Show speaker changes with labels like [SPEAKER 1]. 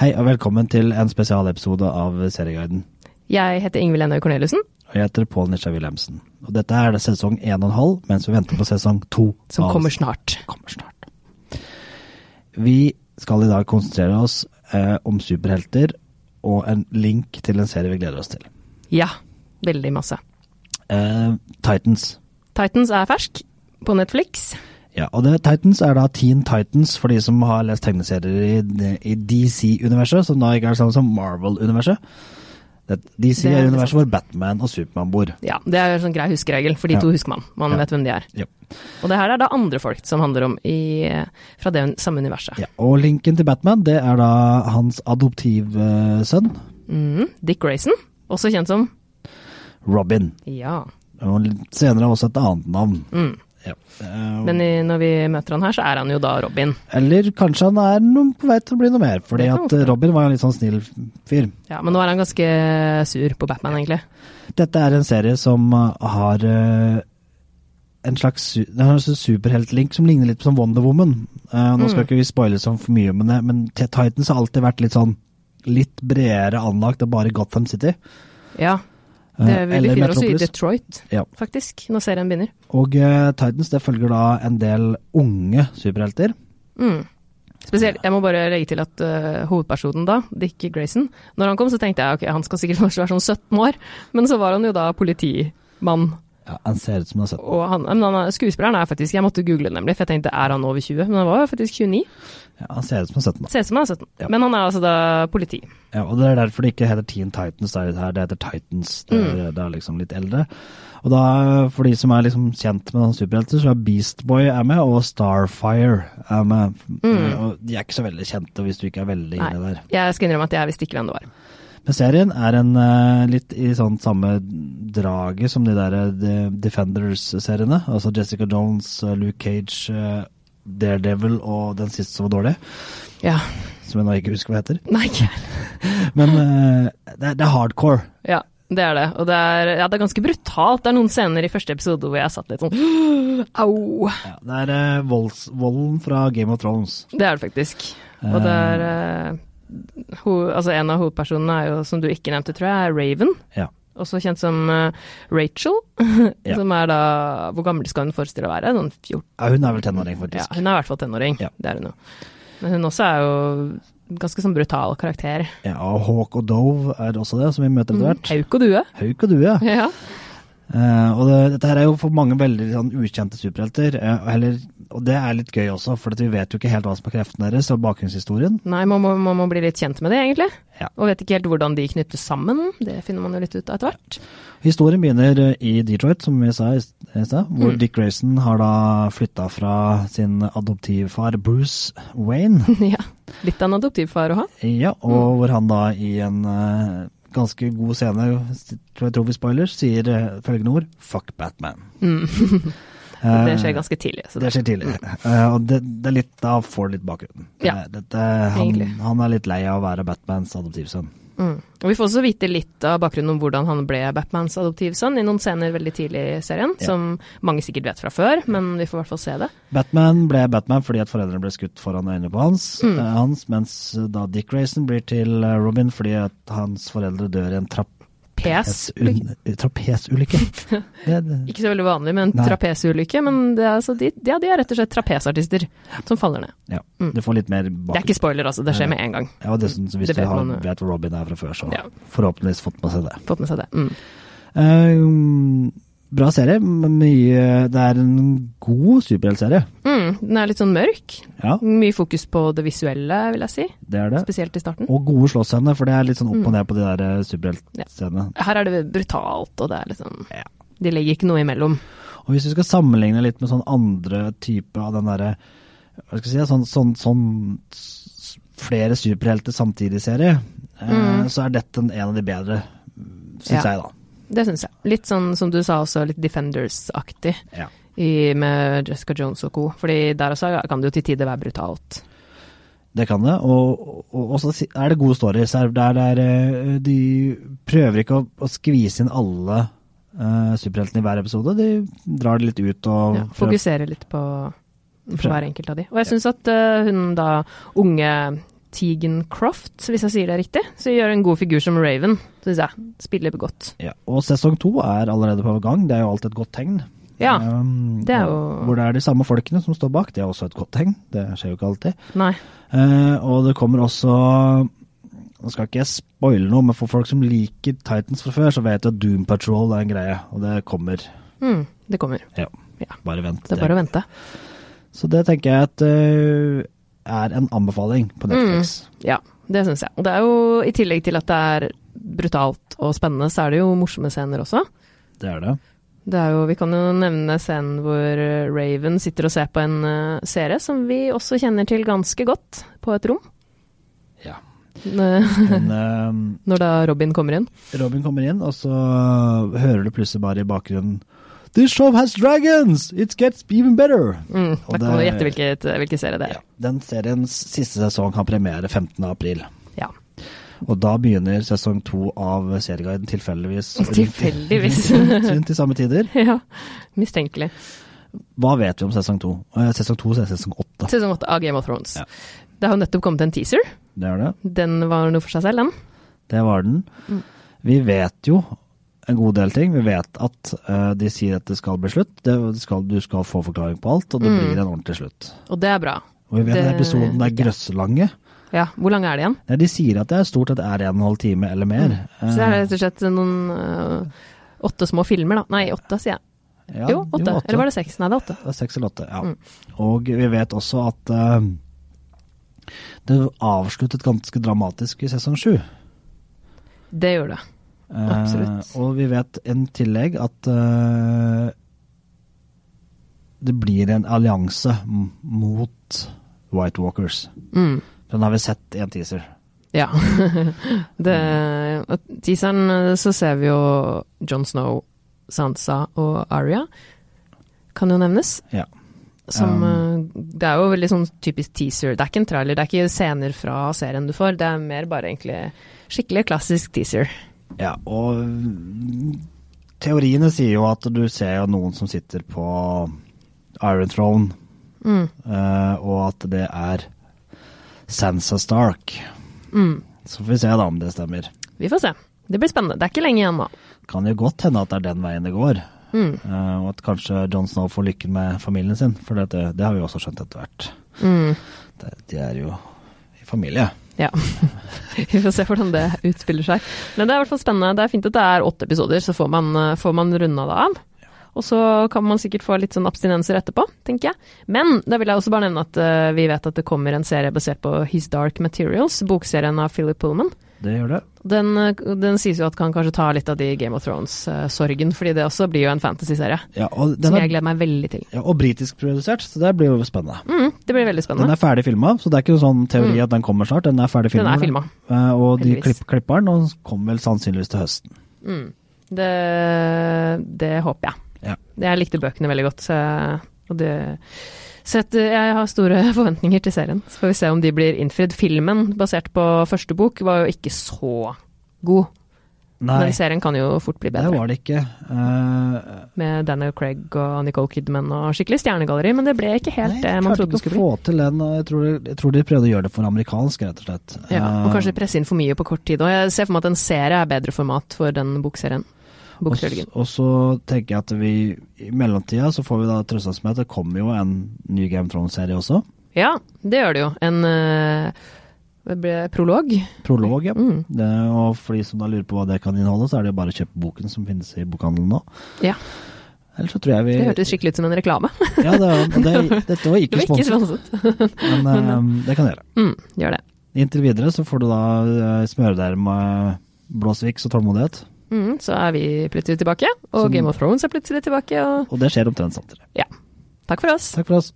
[SPEAKER 1] Hei og velkommen til en spesialepisode av Serieguiden.
[SPEAKER 2] Jeg heter Ingvild Enøy Corneliussen,
[SPEAKER 1] Og jeg heter Pål Nisja Wilhelmsen. Og dette er det sesong 1,5, mens vi venter på sesong 2.
[SPEAKER 2] som kommer snart.
[SPEAKER 1] kommer snart. Vi skal i dag konsentrere oss eh, om superhelter og en link til en serie vi gleder oss til.
[SPEAKER 2] Ja, veldig masse.
[SPEAKER 1] Eh, Titans.
[SPEAKER 2] Titans er fersk på Netflix.
[SPEAKER 1] Ja, og det, Titans er da Teen Titans for de som har lest tegneserier i, i DC-universet, som da ikke er det samme som Marvel-universet. Det- DC
[SPEAKER 2] Det er
[SPEAKER 1] er
[SPEAKER 2] veldig
[SPEAKER 1] universet hvor Batman og Supermann bor.
[SPEAKER 2] Ja, Det er en sånn grei huskeregel, for de
[SPEAKER 1] Ja.
[SPEAKER 2] to husker man. Man
[SPEAKER 1] Ja.
[SPEAKER 2] vet hvem de er.
[SPEAKER 1] Ja.
[SPEAKER 2] Og det her er da andre folk som handler om i, fra det samme universet.
[SPEAKER 1] Ja, og linken til Batman, det er da hans eh, adoptivsønn,
[SPEAKER 2] Mhm. Dick Grayson, også kjent som
[SPEAKER 1] Robin.
[SPEAKER 2] Ja.
[SPEAKER 1] Og litt senere også et annet navn.
[SPEAKER 2] Mm.
[SPEAKER 1] Ja. Eh,
[SPEAKER 2] Men i, når vi møter han her, så er han jo da Robin.
[SPEAKER 1] Eller kanskje han er noen på vei til å bli noe mer, fordi
[SPEAKER 2] Det kan
[SPEAKER 1] at
[SPEAKER 2] godt være.
[SPEAKER 1] Robin var en litt sånn snill fyr.
[SPEAKER 2] Ja, Men nå er han ganske sur på Batman, egentlig.
[SPEAKER 1] Dette er en serie som eh, har eh, en slags, su- det er en slags superheltlink som ligner litt på sånn Wonder Woman. Eh, nå
[SPEAKER 2] Mm.
[SPEAKER 1] skal ikke vi spoile sånn for mye, men, det, men Titans har alltid vært litt sånn litt bredere anlagt enn bare Gotham City.
[SPEAKER 2] Ja.
[SPEAKER 1] eh,
[SPEAKER 2] Det, vi
[SPEAKER 1] eller
[SPEAKER 2] befinner oss i
[SPEAKER 1] Metropolis.
[SPEAKER 2] Detroit,
[SPEAKER 1] Ja.
[SPEAKER 2] faktisk, når serien begynner.
[SPEAKER 1] Og eh, Titans det følger da en del unge superhelter.
[SPEAKER 2] Mm. Spesielt, Jeg må bare legge til at øh, hovedpersonen da, Dick Grayson Når han kom så tenkte jeg ok, han skal sikkert først være sånn 17 år, men så var han jo da politimann.
[SPEAKER 1] Ja, han ser ut som han har sett.
[SPEAKER 2] Og han, men han er, skuespilleren er faktisk Jeg måtte google nemlig, for jeg tenkte er han over 20? Men han var jo faktisk 29.
[SPEAKER 1] Ja, han ser ut som han har sett den.
[SPEAKER 2] Ser ut som han er 17.
[SPEAKER 1] Ja.
[SPEAKER 2] Men han er altså da politi.
[SPEAKER 1] Ja, og det er derfor det ikke heter Teen Titans der, det her, det heter Titans. Det er, det er liksom litt eldre. Og da, for de som er liksom kjent med noen superhelter, så er Beast Boy er med, og Starfire er med. Eh, Og de er ikke så veldig kjente hvis du ikke er veldig
[SPEAKER 2] Nei.
[SPEAKER 1] inne der.
[SPEAKER 2] Jeg skal innrømme at jeg visste ikke hvem det var.
[SPEAKER 1] Men serien er en eh, litt i sånn samme draget som de der eh, de- Defenders-seriene. Altså Jessica Jones, eh, Luke Cage, eh, Daredevil og den siste som var dårlig.
[SPEAKER 2] Ja,
[SPEAKER 1] Som jeg nå ikke husker hva heter.
[SPEAKER 2] nei ikke jeg.
[SPEAKER 1] Men eh, det, er- det er hardcore.
[SPEAKER 2] Ja, det er det. Og det er, ja, det er ganske brutalt. Det er noen scener i første episode hvor jeg satt litt sånn Au!
[SPEAKER 1] Ja, det er eh, volds, volden fra Game of Thrones.
[SPEAKER 2] Det er det faktisk. Og det er eh, ho, altså En av hovedpersonene er jo, som du ikke nevnte, tror jeg, er Raven.
[SPEAKER 1] Ja.
[SPEAKER 2] Også kjent som eh, Rachel.
[SPEAKER 1] Ja.
[SPEAKER 2] Som er da Hvor gammel skal hun forestille å være? Noen 14?
[SPEAKER 1] ja hun er vel tenåring,
[SPEAKER 2] Ja,
[SPEAKER 1] faktisk.
[SPEAKER 2] hun er i hvert fall tenåring.
[SPEAKER 1] Ja.
[SPEAKER 2] Det er hun jo. Men hun også er jo ganske sånn brutal karakter.
[SPEAKER 1] Ja. og Hawk og Dove er også det, som vi møter etter hvert.
[SPEAKER 2] Hauk og due.
[SPEAKER 1] Hauk og due.
[SPEAKER 2] Ja.
[SPEAKER 1] Eh, og det, dette her er jo for mange veldig sånn, ukjente superhelter. eh, og heller, og det er litt gøy også, for at vi vet jo ikke helt hva som er kreftene deres og bakgrunnshistorien.
[SPEAKER 2] Nei, man må, man må bli litt kjent med det, egentlig.
[SPEAKER 1] Ja.
[SPEAKER 2] Og vet ikke helt hvordan de knyttes sammen. Det finner man jo litt ut av etter hvert.
[SPEAKER 1] Historien begynner eh, i Detroit, som vi sa i s- i stad, hvor
[SPEAKER 2] Mm.
[SPEAKER 1] Dick Grayson har da flytta fra sin adoptivfar Bruce Wayne.
[SPEAKER 2] ja. Litt av en adoptivfar å ha.
[SPEAKER 1] Ja,
[SPEAKER 2] Mm.
[SPEAKER 1] og hvor han da i en eh, ganske god scene, tror jeg tror vi spoiler, sier eh, følgende ord Fuck Batman.
[SPEAKER 2] Mm. Det
[SPEAKER 1] Eh.
[SPEAKER 2] skjer ganske tidlig. Så
[SPEAKER 1] Det skjer tidlig. Eh, og det, det er litt, da får du litt bakgrunnen.
[SPEAKER 2] Mm. Ja,
[SPEAKER 1] Eh, dette, han,
[SPEAKER 2] egentlig.
[SPEAKER 1] han er litt lei av å være Batmans adoptivsønn.
[SPEAKER 2] Mm. Og Vi får også vite litt av bakgrunnen om hvordan han ble Batmans adoptivsønn i noen scener veldig tidlig i serien,
[SPEAKER 1] Ja.
[SPEAKER 2] som mange sikkert vet fra før, men vi får i hvert fall se det.
[SPEAKER 1] Batman ble Batman fordi at foreldrene ble skutt foran øynene på hans,
[SPEAKER 2] Mm.
[SPEAKER 1] eh, hans mens eh, da Dick Grayson blir til eh, Robin fordi at hans foreldre dør i en
[SPEAKER 2] PS.
[SPEAKER 1] trapesun- trapesulykke. Det, det,
[SPEAKER 2] Ikke så veldig vanlig med en
[SPEAKER 1] Nei.
[SPEAKER 2] trapesulykke, men det er, altså de, ja, de er rett og slett trapesartister som faller ned.
[SPEAKER 1] ja, du får litt mer bakgrunn.
[SPEAKER 2] Det er ikke spoiler, altså. Det skjer med en gang.
[SPEAKER 1] Ja, og dessuten, så hvis
[SPEAKER 2] Det
[SPEAKER 1] du
[SPEAKER 2] vet
[SPEAKER 1] har,
[SPEAKER 2] man jo.
[SPEAKER 1] vet hvor Robin er fra før, så
[SPEAKER 2] Ja.
[SPEAKER 1] forhåpentligvis fått med seg det.
[SPEAKER 2] Fått med seg det. Mm.
[SPEAKER 1] Eh, bra serie. men Mye, det er en god superheltserie.
[SPEAKER 2] Mm. Den er litt sånn mørk.
[SPEAKER 1] Ja,
[SPEAKER 2] Mye fokus på det visuelle, vil jeg si.
[SPEAKER 1] det er det.
[SPEAKER 2] Spesielt i starten.
[SPEAKER 1] Og gode slåssscener, for det er litt sånn
[SPEAKER 2] Mm.
[SPEAKER 1] opp og ned på de der eh, superheltscenene.
[SPEAKER 2] Her er det brutalt, og det er liksom
[SPEAKER 1] Ja.
[SPEAKER 2] De legger ikke noe imellom.
[SPEAKER 1] Og hvis vi skal sammenligne litt med sånn andre type av den derre Hva skal jeg si, sånn, sånn, sånn s- flere superhelter samtidig-serie, eh, så er dette en en av de bedre, syns
[SPEAKER 2] Mm. Ja.
[SPEAKER 1] jeg, da.
[SPEAKER 2] Det syns jeg. Litt sånn som du sa også, litt Defenders-aktig.
[SPEAKER 1] Ja.
[SPEAKER 2] i, med Jessica Jones og co. Fordi der også kan det jo til tider være brutalt.
[SPEAKER 1] Det kan det, og, og, og så si- er det gode stories her. Der, der, eh, de prøver ikke å, å skvise inn alle eh, superheltene i hver episode. De drar det litt ut og
[SPEAKER 2] Ja, fokusere litt på, på hver enkelt av de. Og jeg syns at eh, hun da unge Tegan Croft, hvis jeg sier det riktig. Så gjør hun en god figur som Raven, syns jeg. Spiller godt.
[SPEAKER 1] Ja, og sesong to er allerede på gang, det er jo alltid et godt tegn.
[SPEAKER 2] Ja,
[SPEAKER 1] Um,
[SPEAKER 2] det er jo
[SPEAKER 1] og Hvor det er de samme folkene som står bak, det er også et godt tegn. Det skjer jo ikke alltid.
[SPEAKER 2] Nei.
[SPEAKER 1] Eh, og det kommer også Nå skal ikke jeg spoile noe, men for folk som liker Titans fra før, så vet du at Doom Patrol er en greie, og det kommer.
[SPEAKER 2] Mm, det kommer.
[SPEAKER 1] Ja,
[SPEAKER 2] Ja.
[SPEAKER 1] bare vent.
[SPEAKER 2] Det er bare å vente.
[SPEAKER 1] Så det tenker jeg at eh, er en anbefaling på Netflix.
[SPEAKER 2] Ja, det syns jeg. Og det er jo, i tillegg til at det er brutalt og spennende, så er det jo morsomme scener også.
[SPEAKER 1] Det er det.
[SPEAKER 2] Det er jo, Vi kan jo nevne scenen hvor eh, Raven sitter og ser på en eh, serie som vi også kjenner til ganske godt, på et rom.
[SPEAKER 1] Ja.
[SPEAKER 2] N-
[SPEAKER 1] Men, eh,
[SPEAKER 2] Når da Robin kommer inn.
[SPEAKER 1] Robin kommer inn, og så øh, hører du plutselig bare i bakgrunnen This show has dragons! It gets even better!
[SPEAKER 2] Mm,
[SPEAKER 1] Og
[SPEAKER 2] da kan du
[SPEAKER 1] det-
[SPEAKER 2] gjette hvilket, eh, hvilken serie det er.
[SPEAKER 1] Ja. Den seriens siste sesong har premiere 15. april.
[SPEAKER 2] Ja.
[SPEAKER 1] Og da begynner sesong to av Serieguiden tilfeldigvis.
[SPEAKER 2] Tilfeldigvis.
[SPEAKER 1] Rundt i samme tider.
[SPEAKER 2] ja. Mistenkelig.
[SPEAKER 1] Hva vet vi om sesong to? Eh, Sesong to er sesong åtte.
[SPEAKER 2] Sesong åtte av Game of Thrones.
[SPEAKER 1] Ja.
[SPEAKER 2] Det har jo nettopp kommet en teaser.
[SPEAKER 1] Det er det.
[SPEAKER 2] Den var noe for seg selv, den.
[SPEAKER 1] Det var den.
[SPEAKER 2] Mm.
[SPEAKER 1] Vi vet jo en god del ting. Vi vet at eh, de sier at det skal bli slutt. Det skal, du skal få forklaring på alt, og
[SPEAKER 2] Mm.
[SPEAKER 1] det blir en ordentlig slutt.
[SPEAKER 2] Og det er bra.
[SPEAKER 1] Og vi vet
[SPEAKER 2] Det-
[SPEAKER 1] at episoden er grøsselange.
[SPEAKER 2] Ja, Hvor lang er det igjen?
[SPEAKER 1] Nei, de sier at det er stort at det er en og en halv time eller mer.
[SPEAKER 2] Mm. Så det er
[SPEAKER 1] Eh,
[SPEAKER 2] rett og slett noen øh, åtte små filmer, da. Nei, åtte, sier jeg.
[SPEAKER 1] Eh, ja,
[SPEAKER 2] jo, åtte. Eller var det Mm. seks? Nei, det er åtte.
[SPEAKER 1] Det er seks eller åtte, ja. Og vi vet også at eh, det avsluttet ganske dramatisk i sesong sju.
[SPEAKER 2] Det gjør det.
[SPEAKER 1] Eh,
[SPEAKER 2] Absolutt.
[SPEAKER 1] og vi vet en tillegg at eh, det blir en allianse m- mot White Walkers.
[SPEAKER 2] Mm.
[SPEAKER 1] Den har vi sett i en teaser.
[SPEAKER 2] Ja. det, og teaseren øh, så ser vi jo John Snow, Sansa og Aria, kan jo nevnes.
[SPEAKER 1] Ja.
[SPEAKER 2] Som,
[SPEAKER 1] Um.
[SPEAKER 2] øh, det er jo veldig sånn typisk teaser. Det er ikke en trailer, det er ikke scener fra serien du får. Det er mer bare egentlig skikkelig klassisk teaser.
[SPEAKER 1] ja og mm, teoriene sier jo at du ser jo noen som sitter på Iron Throne,
[SPEAKER 2] Mm.
[SPEAKER 1] eh, og at det er Sansa Stark.
[SPEAKER 2] Mm.
[SPEAKER 1] Så får vi se da om det stemmer.
[SPEAKER 2] Vi får se. Det blir spennende. Det er ikke lenge igjen nå.
[SPEAKER 1] Kan jo godt hende at det er den veien det går.
[SPEAKER 2] Mm.
[SPEAKER 1] Eh, og at kanskje Jon Snow får lykken med familien sin, for det, det har vi jo også skjønt etter hvert.
[SPEAKER 2] Mm.
[SPEAKER 1] Det, de er jo i familie.
[SPEAKER 2] Ja. Vi får se hvordan det utspiller seg. Men det er i hvert fall spennende. Det er fint at det er åtte episoder, så får man, eh, får man runda det av. Og så kan man sikkert få litt sånn abstinenser etterpå, tenker jeg. Men da vil jeg også bare nevne at eh, vi vet at det kommer en serie basert på His Dark Materials, bokserien av Philip Pullman.
[SPEAKER 1] Det gjør det.
[SPEAKER 2] Den, eh, den sies jo at kan kanskje ta litt av de Game of Thrones-sorgen, fordi det også blir jo en fantasyserie.
[SPEAKER 1] Ja, og, den
[SPEAKER 2] Som jeg
[SPEAKER 1] er,
[SPEAKER 2] gleder meg veldig til.
[SPEAKER 1] ja, og britisk produsert, så det blir jo spennende.
[SPEAKER 2] Mm, det blir veldig
[SPEAKER 1] Den
[SPEAKER 2] spennende. Mm.
[SPEAKER 1] er ferdig filma, så det er ikke noen sånn teori at den kommer snart. Den er ferdig
[SPEAKER 2] Den
[SPEAKER 1] filma.
[SPEAKER 2] er filma.
[SPEAKER 1] Eh, og de
[SPEAKER 2] Heldigvis.
[SPEAKER 1] klipp, klipper den, og den kommer vel sannsynligvis til høsten.
[SPEAKER 2] Mm. Det, det håper jeg.
[SPEAKER 1] Ja.
[SPEAKER 2] Jeg likte bøkene veldig godt. Så, og det, så at eh, jeg har store forventninger til serien. Så får vi se om de blir innfridd. Filmen basert på første bok var jo ikke så god,
[SPEAKER 1] Nei,
[SPEAKER 2] men serien kan jo fort bli
[SPEAKER 1] det
[SPEAKER 2] bedre.
[SPEAKER 1] var det ikke. Eh,
[SPEAKER 2] Med Daniel Craig og Nicole Kidman og skikkelig stjernegalleri, men det ble ikke helt
[SPEAKER 1] nei,
[SPEAKER 2] det man trodde det skulle bli.
[SPEAKER 1] Få til den, og jeg, tror, jeg tror de prøvde å gjøre det for amerikansk, rett og slett.
[SPEAKER 2] Ja, og
[SPEAKER 1] Eh,
[SPEAKER 2] kanskje presse inn for mye på kort tid. Og jeg ser for meg at en serie er bedre format for den bokserien.
[SPEAKER 1] Og
[SPEAKER 2] Bokserien.
[SPEAKER 1] s- Og så tenker jeg at vi i mellomtida så får vi da trøste oss med at det kommer jo en ny Game of Thrones-serie også.
[SPEAKER 2] Ja, det gjør det jo. En eh, hva ble det? prolog.
[SPEAKER 1] Prolog, ja.
[SPEAKER 2] Mm.
[SPEAKER 1] Det, og for de som da lurer på hva det kan inneholde, så er det jo bare å kjøpe boken som finnes i bokhandelen nå.
[SPEAKER 2] Ja.
[SPEAKER 1] Ellers så tror jeg vi
[SPEAKER 2] Det hørtes skikkelig ut som en reklame.
[SPEAKER 1] Ja, det, og det, dette var
[SPEAKER 2] Det
[SPEAKER 1] ikke
[SPEAKER 2] var ikke
[SPEAKER 1] sponset,
[SPEAKER 2] sponset.
[SPEAKER 1] men eh, det kan jeg gjøre.
[SPEAKER 2] Mm, gjør det.
[SPEAKER 1] Inntil videre så får du da eh, smøre deg med blåsviks og tålmodighet,
[SPEAKER 2] Mm, så er vi plutselig tilbake, og
[SPEAKER 1] Som-
[SPEAKER 2] Game of Thrones er plutselig tilbake, og
[SPEAKER 1] og det skjer omtrent samtidig.
[SPEAKER 2] ja. Takk for oss.
[SPEAKER 1] Takk for oss.